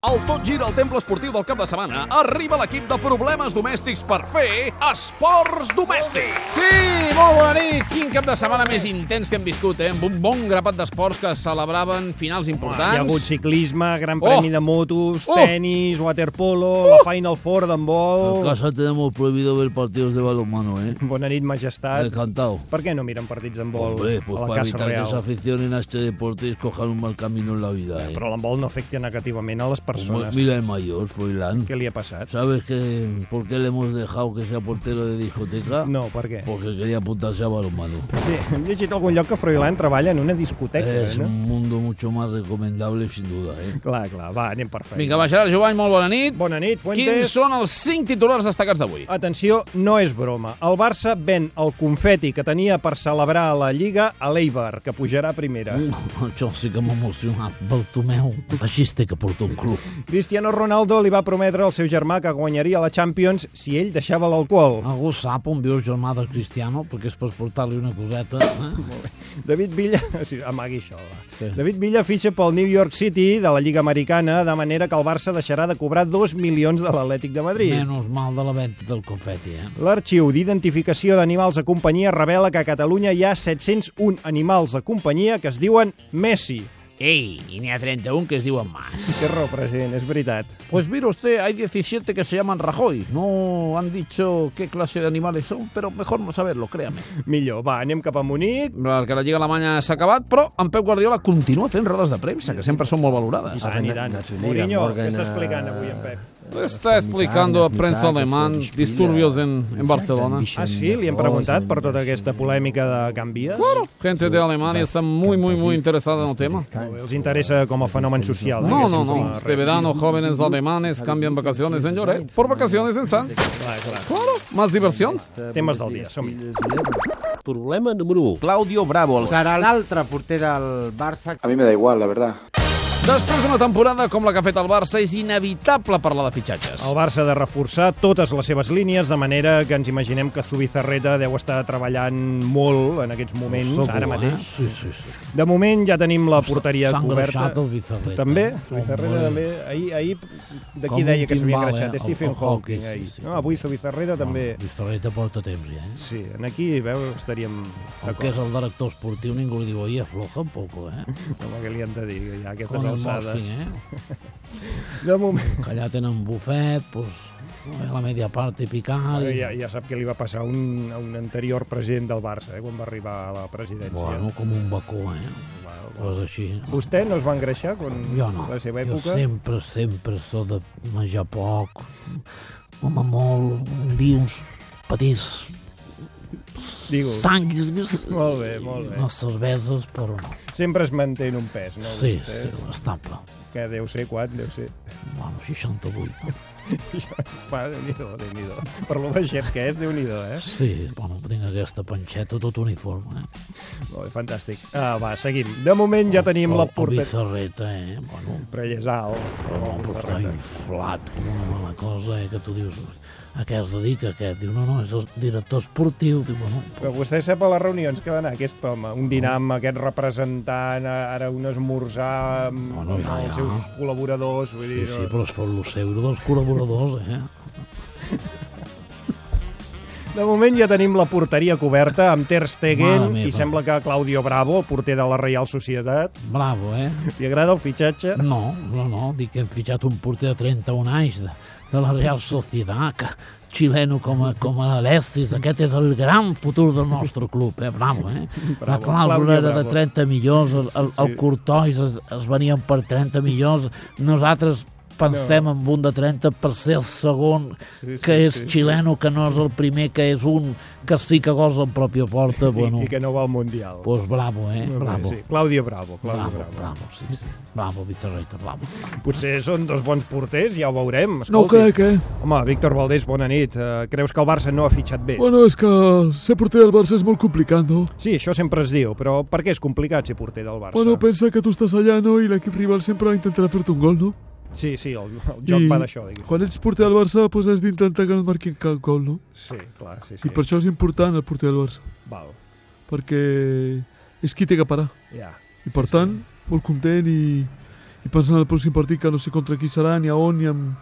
Al Tot Gira al Temple Esportiu del cap de setmana arriba l'equip de problemes domèstics per fer esports domèstics. Sí, molt bona nit! Quin cap de setmana més intens que hem viscut, eh? Amb un bon grapat d'esports que celebraven finals importants. Hi ha hagut ciclisme, gran Oh! premi de motos, Oh! tenis, waterpolo, la Final Four En Doncs d'handbol... casa tenemos prohibido ver partidos de balonmano, ¿eh? Bona nit, Eh, majestat. Encantado. Per què no miren partits d'handbol Hombre, pues a la para Casa evitar que se Real? aficionen a este deporte y escojan un mal camino en la vida, ¿eh? Però l'handbol no afecta negativament a les Como- persones. mira el mayor, Froilán. Què li ha passat? ¿Sabes qué, por qué le hemos dejado que sea portero de discoteca? No, per què? Porque quería apuntarse a balonmano. Sí, hem llegit a algun lloc que Froilán treballa en una Eh, discoteca, eh, Es no? un mundo mucho más recomendable, sin duda, ¿eh? Clar, clar, va, anem per feina. Vinga, va, Gerard Jovany, molt bona nit. Bona nit, Fuentes. Quins són els cinc titulars destacats d'avui? Atenció, no és broma. El Barça ven el confeti que tenia per celebrar la Lliga a l'Eibar, que pujarà a primera. Uh, això sí que m'ha emocionat. Bartomeu, així es té que portar un club. Cristiano Ronaldo li va prometre al seu germà que guanyaria la Champions si ell deixava l'alcohol. Algú sap on viu el germà del Cristiano? Perquè és per portar-li una coseta, eh? David Villa... Sí, amagui això, va. Sí. David Villa fitxa pel New York City de la Lliga Americana, de manera que el Barça deixarà de cobrar 2 milions de l'Atlètic de Madrid. Menos mal de la venda del confeti, eh? L'arxiu d'identificació d'animals de companyia revela que a Catalunya hi ha 701 animals de companyia que es diuen Messi. Ei, i n'hi ha 31 que es diuen Mas. Té raó, president, és veritat. Pues mire usted, hay 17 que se llaman Rajoy. No han dicho qué clase de animales son, pero mejor no saberlo, créame. Millor, va, anem cap a Munic. Perquè la Lliga Alemanya s'ha acabat, però en Pep Guardiola continua fent rodes de premsa, que sempre són molt valorades. Aniran. Mourinho, què està explicant avui en Pep? Está explicando a prensa alemán disturbios en, en Barcelona. Ah, sí? Li hem preguntat per tota aquesta polèmica de Can Vies? Gente de Alemania está muy, muy, muy interesada en el tema. Molt bé, Els interessa com a fenomen social, No, diguéssim, no, com no. a Este verano jóvenes alemanes cambian vacaciones en Lloret por vacaciones en Sanz. Claro, más diversión. temes del dia. Som-hi. Problema número 1. Claudio Bravo. serà l'altre porter del Barça. A mí me da igual, la verdad. Després d'una temporada com la que ha fet el Barça, és inevitable parlar de fitxatges. El Barça ha de reforçar totes les seves línies, de manera que ens imaginem que Zubizarreta deu estar treballant molt en aquests moments, Soco, ara mateix. Eh? Sí, sí, sí. De moment ja tenim la porteria S'ha coberta. engreixat el Bizarreta. També, Home. Zubizarreta també. Ahir, ahir de Com qui deia un que s'havia timbal, engreixat? eh? Stephen El- el Hawking. hockey, sí, ahir. sí, No, també. avui Zubizarreta també. Bizarreta porta temps, ja, eh? Sí, en aquí, veu, estaríem El que és d'acord el director esportiu ningú li diu, oi, afloja un poco, eh? amb el que li han de dir, ja, a aquestes Con el alçades. morfing, eh? De moment, Que allà tenen bufet, pues, a la media part i picar... Bueno, I... ja, ja sap què li va passar a un, a un anterior president del Barça, eh, quan va arribar a la presidència. Bueno, com un bacó, eh? Pues així. Vostè no es va engreixar quan Jo no. la seva Jo època? sempre, sempre so de menjar poc, home molt, un dia uns petits Digo, sanguis, Molt bé, molt bé. unes cerveses, però no. sempre es manté en un pes, no? Sí, vostè? sí, estable. Que deu ser quan, deu ser. Bueno, 68. Va, Déu-n'hi-do, déu nhi déu Per lo baixet que és, Déu-n'hi-do, eh? Sí, bueno, tinc aquesta panxeta tot uniforme. Eh? Molt bé, fantàstic. Ah, va, seguim. De moment ja tenim El- la El porteria... bizarreta, eh? Bueno, Però ell és alt. però no, però està inflat com una mala cosa, eh? Que tu dius, a què es dedica aquest? Diu, no, no, és el director esportiu. Diu, bueno, Però vostè sap a les reunions que va anar aquest home, un dinar amb aquest representant, ara un esmorzar amb, No, no, ja, amb els ja. seus col·laboradors, vull dir... Sí, sí, no- però es fot lo seu dels col·laboradors, eh? De moment ja tenim la porteria coberta amb Ter Stegen Mare meva. i sembla que Claudio Bravo, el porter de la Reial Societat, Bravo, eh? li agrada el fitxatge. No, no, no, dic que hem fitxat un porter de 31 anys de, de la Real Sociedad, que xileno com a, com a l'Estis, aquest és el gran futur del nostre club, eh? Bravo, eh? la Bravo, Claudio clàusula era de Bravo. 30 milions, el, el, el Cortois es, es venien per 30 milions, nosaltres pensem no. en un de 30 per ser el segon Sí, sí, que és sí, sí. xileno, que no és el primer, que és un que es fica gols en pròpia porta, bueno, I, I que no va al Mundial. pues bravo, eh? Molt bé, Bravo. Sí, Claudio Bravo, Claudio Bravo, Bravo. bravo, sí, sí. Bravo, Vitorreta, bravo. Potser són dos bons porters, ja ho veurem. Escolti. No ho crec, eh? Home, Víctor Valdés, bona nit. Uh, creus que el Barça no ha fitxat bé? Bueno, és que ser porter del Barça és molt complicat, no? Sí, això sempre es diu, però per què és complicat ser porter del Barça? Bueno, pensa que tu estàs allà, no? I l'equip rival sempre intentarà fer-te un gol, no? Sí, sí, el, el joc I va d'això, diguéssim. Quan ets porter del Barça, doncs has d'intentar que no et marquin cap gol, no? Sí, clar, sí, sí. I per això és important el porter del Barça, Val, perquè és qui té que parar. ja. I per tant, molt content i, i i pensant en el pròxim partit que no sé contra qui serà, ni a on, ni amb,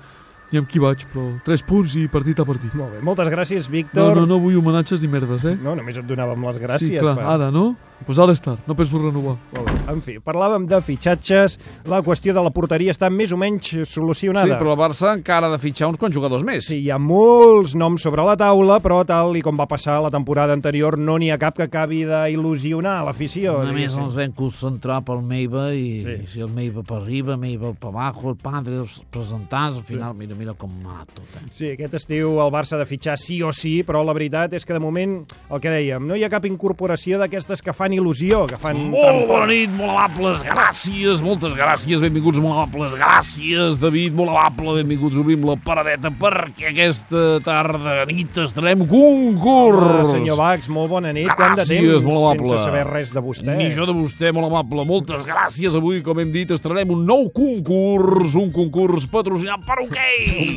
ni amb qui vaig, però tres punts i partit a partit. Molt bé, moltes gràcies, No, Víctor. no, no vull homenatges ni merdes, eh? no només et donàvem les gràcies. sí, clar, per- ara, no? Doncs pues ara és tard, no penso renovar. Molt bé. En fi, parlàvem de fitxatges, la qüestió de la porteria està més o menys solucionada. Sí, però el Barça encara ha de fitxar uns quants jugadors més. Sí, hi ha molts noms sobre la taula, però tal i com va passar la temporada anterior, no n'hi ha cap que acabi d'il·lusionar l'afició. Només diguéssim. ens vam concentrar pel Meiva i, Sí. sí. i si el Meiva per arriba, Meiva per abajo, el padre, els presentats, al final, sí. mira, mira com ha anat tot. Eh? Sí, aquest estiu el Barça ha de fitxar sí o sí, però la veritat és que de moment, el que dèiem, no hi ha cap incorporació d'aquestes que fan il·lusió, que fan... Molt bona nit, molt amables, gràcies, moltes gràcies, benvinguts, molt amables, gràcies, David, molt amable, benvinguts, obrim la paradeta perquè aquesta tarda, nit, estarem Hola, concurs. senyor Bax, molt bona nit. Quant de Gràcies, temps molt amable. sense saber res de vostè. Ni jo de vostè, molt amable. Moltes gràcies. Avui, com hem dit, estrenarem un nou concurs, un concurs patrocinat per OK.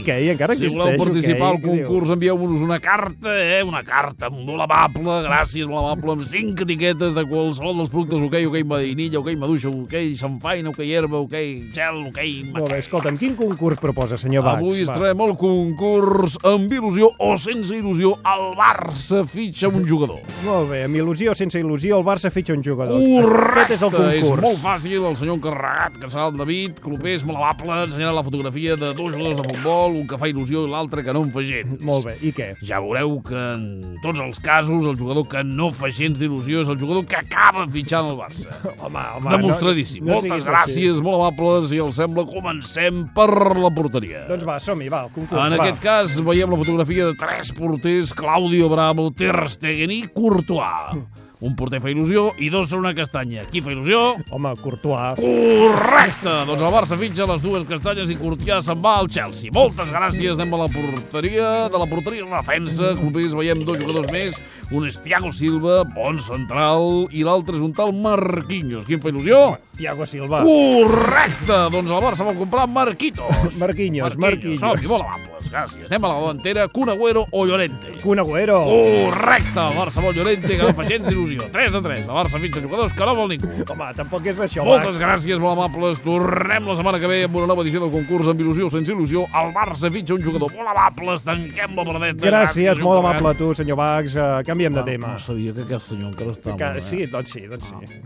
Ok, encara Si existeix. voleu participar al ok, què diu? concurs, envieu-nos una carta, eh? Una carta molt amable, gràcies, molt amable, amb cinc etiquetes de qualsevol dels productes OK, OK, vainilla, OK, maduixa, OK, xamfaina, OK, herba, OK, gel, OK, Molt bé, escolta'm, quin concurs proposa, senyor Bax? Avui Va. estrenem el concurs amb il·lusió o sense il·lusió. El Barça fitxa un jugador. Molt bé, amb il·lusió o sense il·lusió, el Barça fitxa un jugador. Correcte, Aquest és el concurs. És molt fàcil, el senyor encarregat, que serà el David, Clopé és molt amable, ensenyarà la fotografia de dos jugadors de futbol, un que fa il·lusió i l'altre que no en fa gens. Molt bé, i què? Ja veureu que en tots els casos el jugador que no fa gens d'il·lusió és el jugador que acaba fitxant el Barça. Home, home... Demostradíssim. siguis Moltes així. gràcies, molt amables, i el sembla comencem per la porteria. Doncs va, som-hi, va, el concurs, En va. aquest cas veiem la fotografia de tres porters, Claudio Bravo, Ter Stegen i Courtois. Un porter fa il·lusió i dos són una castanya. Qui fa il·lusió? Home, Courtois... Correcte! Doncs el Barça fitxa les dues castanyes i Courtois se'n va al Chelsea. Moltes gràcies, anem a la porteria, de la porteria a la defensa. Clubers, veiem dos jugadors més. Un és Thiago Silva, bon central, i l'altre és un tal Marquinhos. Quin fa il·lusió? Tiago Silva. Correcte! Doncs el Barça va comprar Marquitos. Marquinhos, Marquinhos. Som-hi, molt amables, gràcies. Anem a la davantera, Kun Agüero o Llorente. Kun Agüero. Correcte, el Barça vol Llorente, que no fa gens d'il·lusió. 3 de 3, el Barça fitxa jugadors que no vol ningú. Home, tampoc és això, Moltes Max. gràcies, molt amables. Tornem la setmana que ve amb una nova edició del concurs amb il·lusió o sense il·lusió. El Barça fitxa un jugador molt amables. Tanquem la paradeta. Gràcies, molt Joan. amable a tu, senyor Bax. Uh, canviem de tema. No sabia que aquest senyor encara estava... Que, eh? sí, doncs sí, doncs Ah, sí.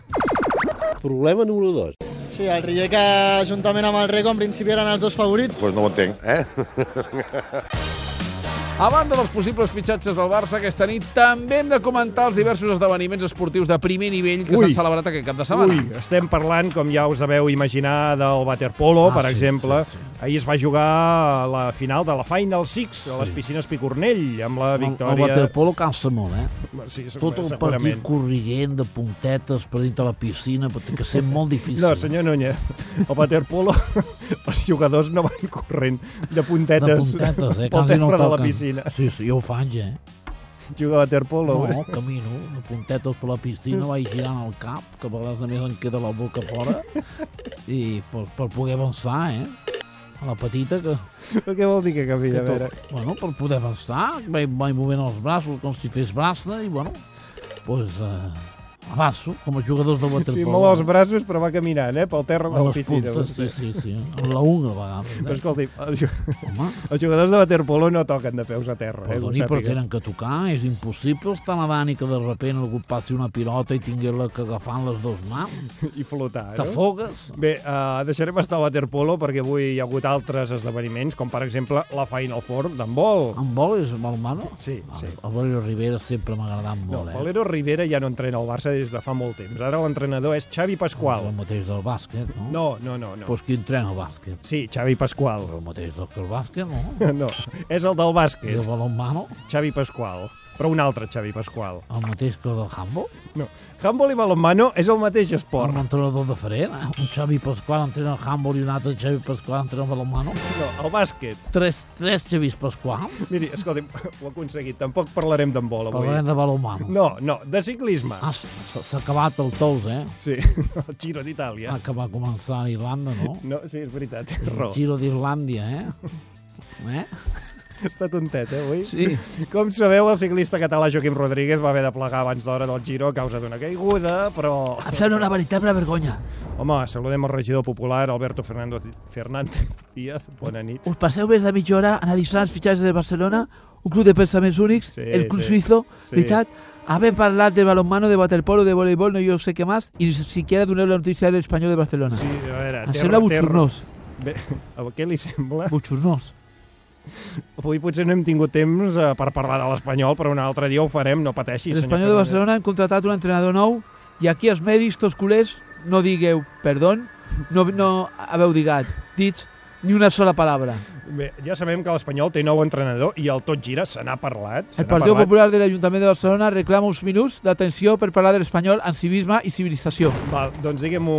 Problema número 2. Sí, el Rier que juntament amb el Reco en principi eren els dos favorits. Pues no ho entenc, eh? A banda dels possibles fitxatges del Barça aquesta nit, també hem de comentar els diversos esdeveniments esportius de primer nivell que Ui. s'han celebrat aquest cap de setmana. Ui, estem parlant, com ja us deveu imaginar, del waterpolo, Ah, per sí, exemple. sí, Ahir es va jugar a la final de la Final Six, a les piscines Picornell, amb la El, el victòria... waterpolo cansa molt, eh? Sí, Tot un partit segurament. corrigent de puntetes per dintre la piscina, perquè que ser molt difícil. No, senyor Núñez, el waterpolo, els jugadors no van corrent de de puntetes, puntetes, pel eh? Quasi no terra de la toquen. piscina. Sí, sí, jo ho faig, eh? Juga a waterpolo. eh? No, camino, de puntetes per la piscina, vaig girant el cap, que a vegades només em queda la boca fora, i per, per poder avançar, eh? A la petita, que, Però Què vol dir que que camina? A veure, tot, bueno, per poder avançar, vaig, vaig movent els braços com si fes braça, i bueno, doncs eh, avanço, com els jugadors de waterpolo. sí, molt els braços, però va caminant, eh? Pel terra de Amb la les piscina. puntes, sí, sí, sí, amb la unga a Però vegades. escolti, els ju- Eh? Home, els jugadors de waterpolo no toquen de peus a terra. Eh? Perdoni, que ho però sàpiga. tenen que tocar. És impossible estar nedant i que de repent algú et passi una pilota i tingué-la que agafar amb les dues mans. I flotar, no? T'afogues. Bé, uh, deixarem estar el waterpolo perquè avui hi ha hagut altres esdeveniments, com per exemple la Final Four d'handbol. Amb vol és mal mano? Sí, sí. El Valerio Rivera sempre m'ha agradat No, molt, eh? Valero Rivera ja no entrena al Barça des de fa molt temps. Ara l'entrenador és Xavi És Pasqual. el mateix del bàsquet, no? No, no, no, no. Ah, Pues qui entrena el bàsquet? Sí, Xavi Pasqual. El mateix del que el bàsquet, no? No, és el del I el bàsquet, balonmano, Xavi Pasqual. Però un altre Xavi Pasqual. el mateix que el del handball. No. Handball i balonmano és el mateix esport. Un entrenador de farera. Un Xavi Pasqual entrena el handball i un altre Xavi Pasqual entrena el balonmano. No, el bàsquet. Tres, tres Xavis Pasquals. Miri, escolti'm, ho he aconseguit. Tampoc parlarem d'handbol avui. Parlarem de balonmano. No, no, de ciclisme. Ah, s'ha s'ha acabat el tous, eh? Sí, el Giro d'Itàlia. Ah, que va començar a Irlanda, no? No, sí, és veritat. tens El Raó. Giro d'Irlàndia, eh? Eh? Està tontet, eh, avui? Sí. Com sabeu, el ciclista català Joaquim Rodríguez va haver de plegar abans d'hora del Giro a causa d'una caiguda, però... Em sembla una veritable vergonya. Home, saludem el regidor popular, Alberto Fernando Fernández Díaz. Bona nit. Us passeu més de mitja hora analitzant els fitxatges de Barcelona, un club de pensaments únics, Sí, el club sí. suïzo, Sí. sí. veritat, haver parlat de balonmano, de waterpolo, de voleibol, no jo sé què més, i ni siquiera doneu la notícia de l'Espanyol de Barcelona. Sí, a veure... Em té- sembla té- butxornós, Bé, a què li sembla? butxornós. Avui potser no hem tingut temps eh, per parlar de l'Espanyol, però un altre dia ho farem, no pateixi, senyor L'Espanyol de Fernández. Barcelona han contratat un entrenador nou i aquí els mèdics, tots culers, no digueu perdó, no, no haveu digat, dits, ni una sola paraula. Bé, ja sabem que l'Espanyol té nou entrenador i el tot gira, se n'ha parlat. se El n'ha Partit parlat. Popular de l'Ajuntament de Barcelona reclama uns minuts d'atenció per parlar de l'espanyol en civisme i civilització. Val, doncs diguem-ho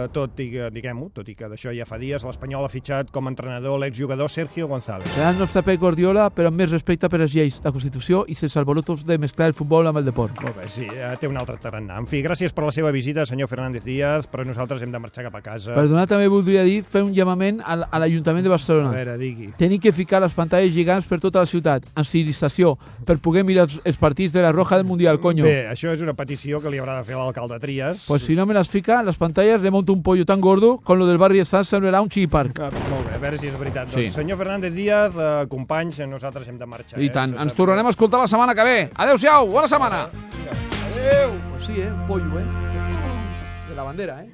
eh, tot, i que- diguem-ho, tot i que d'això ja fa dies, l'Espanyol ha fitxat com a entrenador l'exjugador Sergio González. Serà el nostre Pep Guardiola, però amb més respecte per les lleis, la Constitució i sense alborotos de mesclar el futbol amb el deport. Molt bé, sí, eh, té un altre tarannà. En fi, gràcies per la seva visita, senyor Fernández Díaz, però nosaltres hem de marxar cap a casa. Perdonar també voldria dir fer un llamament al- a l'Ajuntament de A Barcelona. veure, digui. Tenim que ficar les pantalles gegants per tota la ciutat, en civilització, per poder mirar els, els partits de la Roja del Mundial, conyo. Bé, això és una petició que li haurà de fer l'alcalde Trias. Pues si no me las fica, las pantallas le monto un pollo tan gordo con lo del barrio Sants semblará un chipar. Ah, molt bé, a veure si és veritat. Sí. Doncs, senyor Fernández Díaz, eh, companys, nosaltres hem de marxar. I eh? tant. Se Ens sap tornarem a escoltar la setmana que ve. Adéu-siau, bona setmana. Pues sí, eh, un pollo, eh. De la bandera, eh.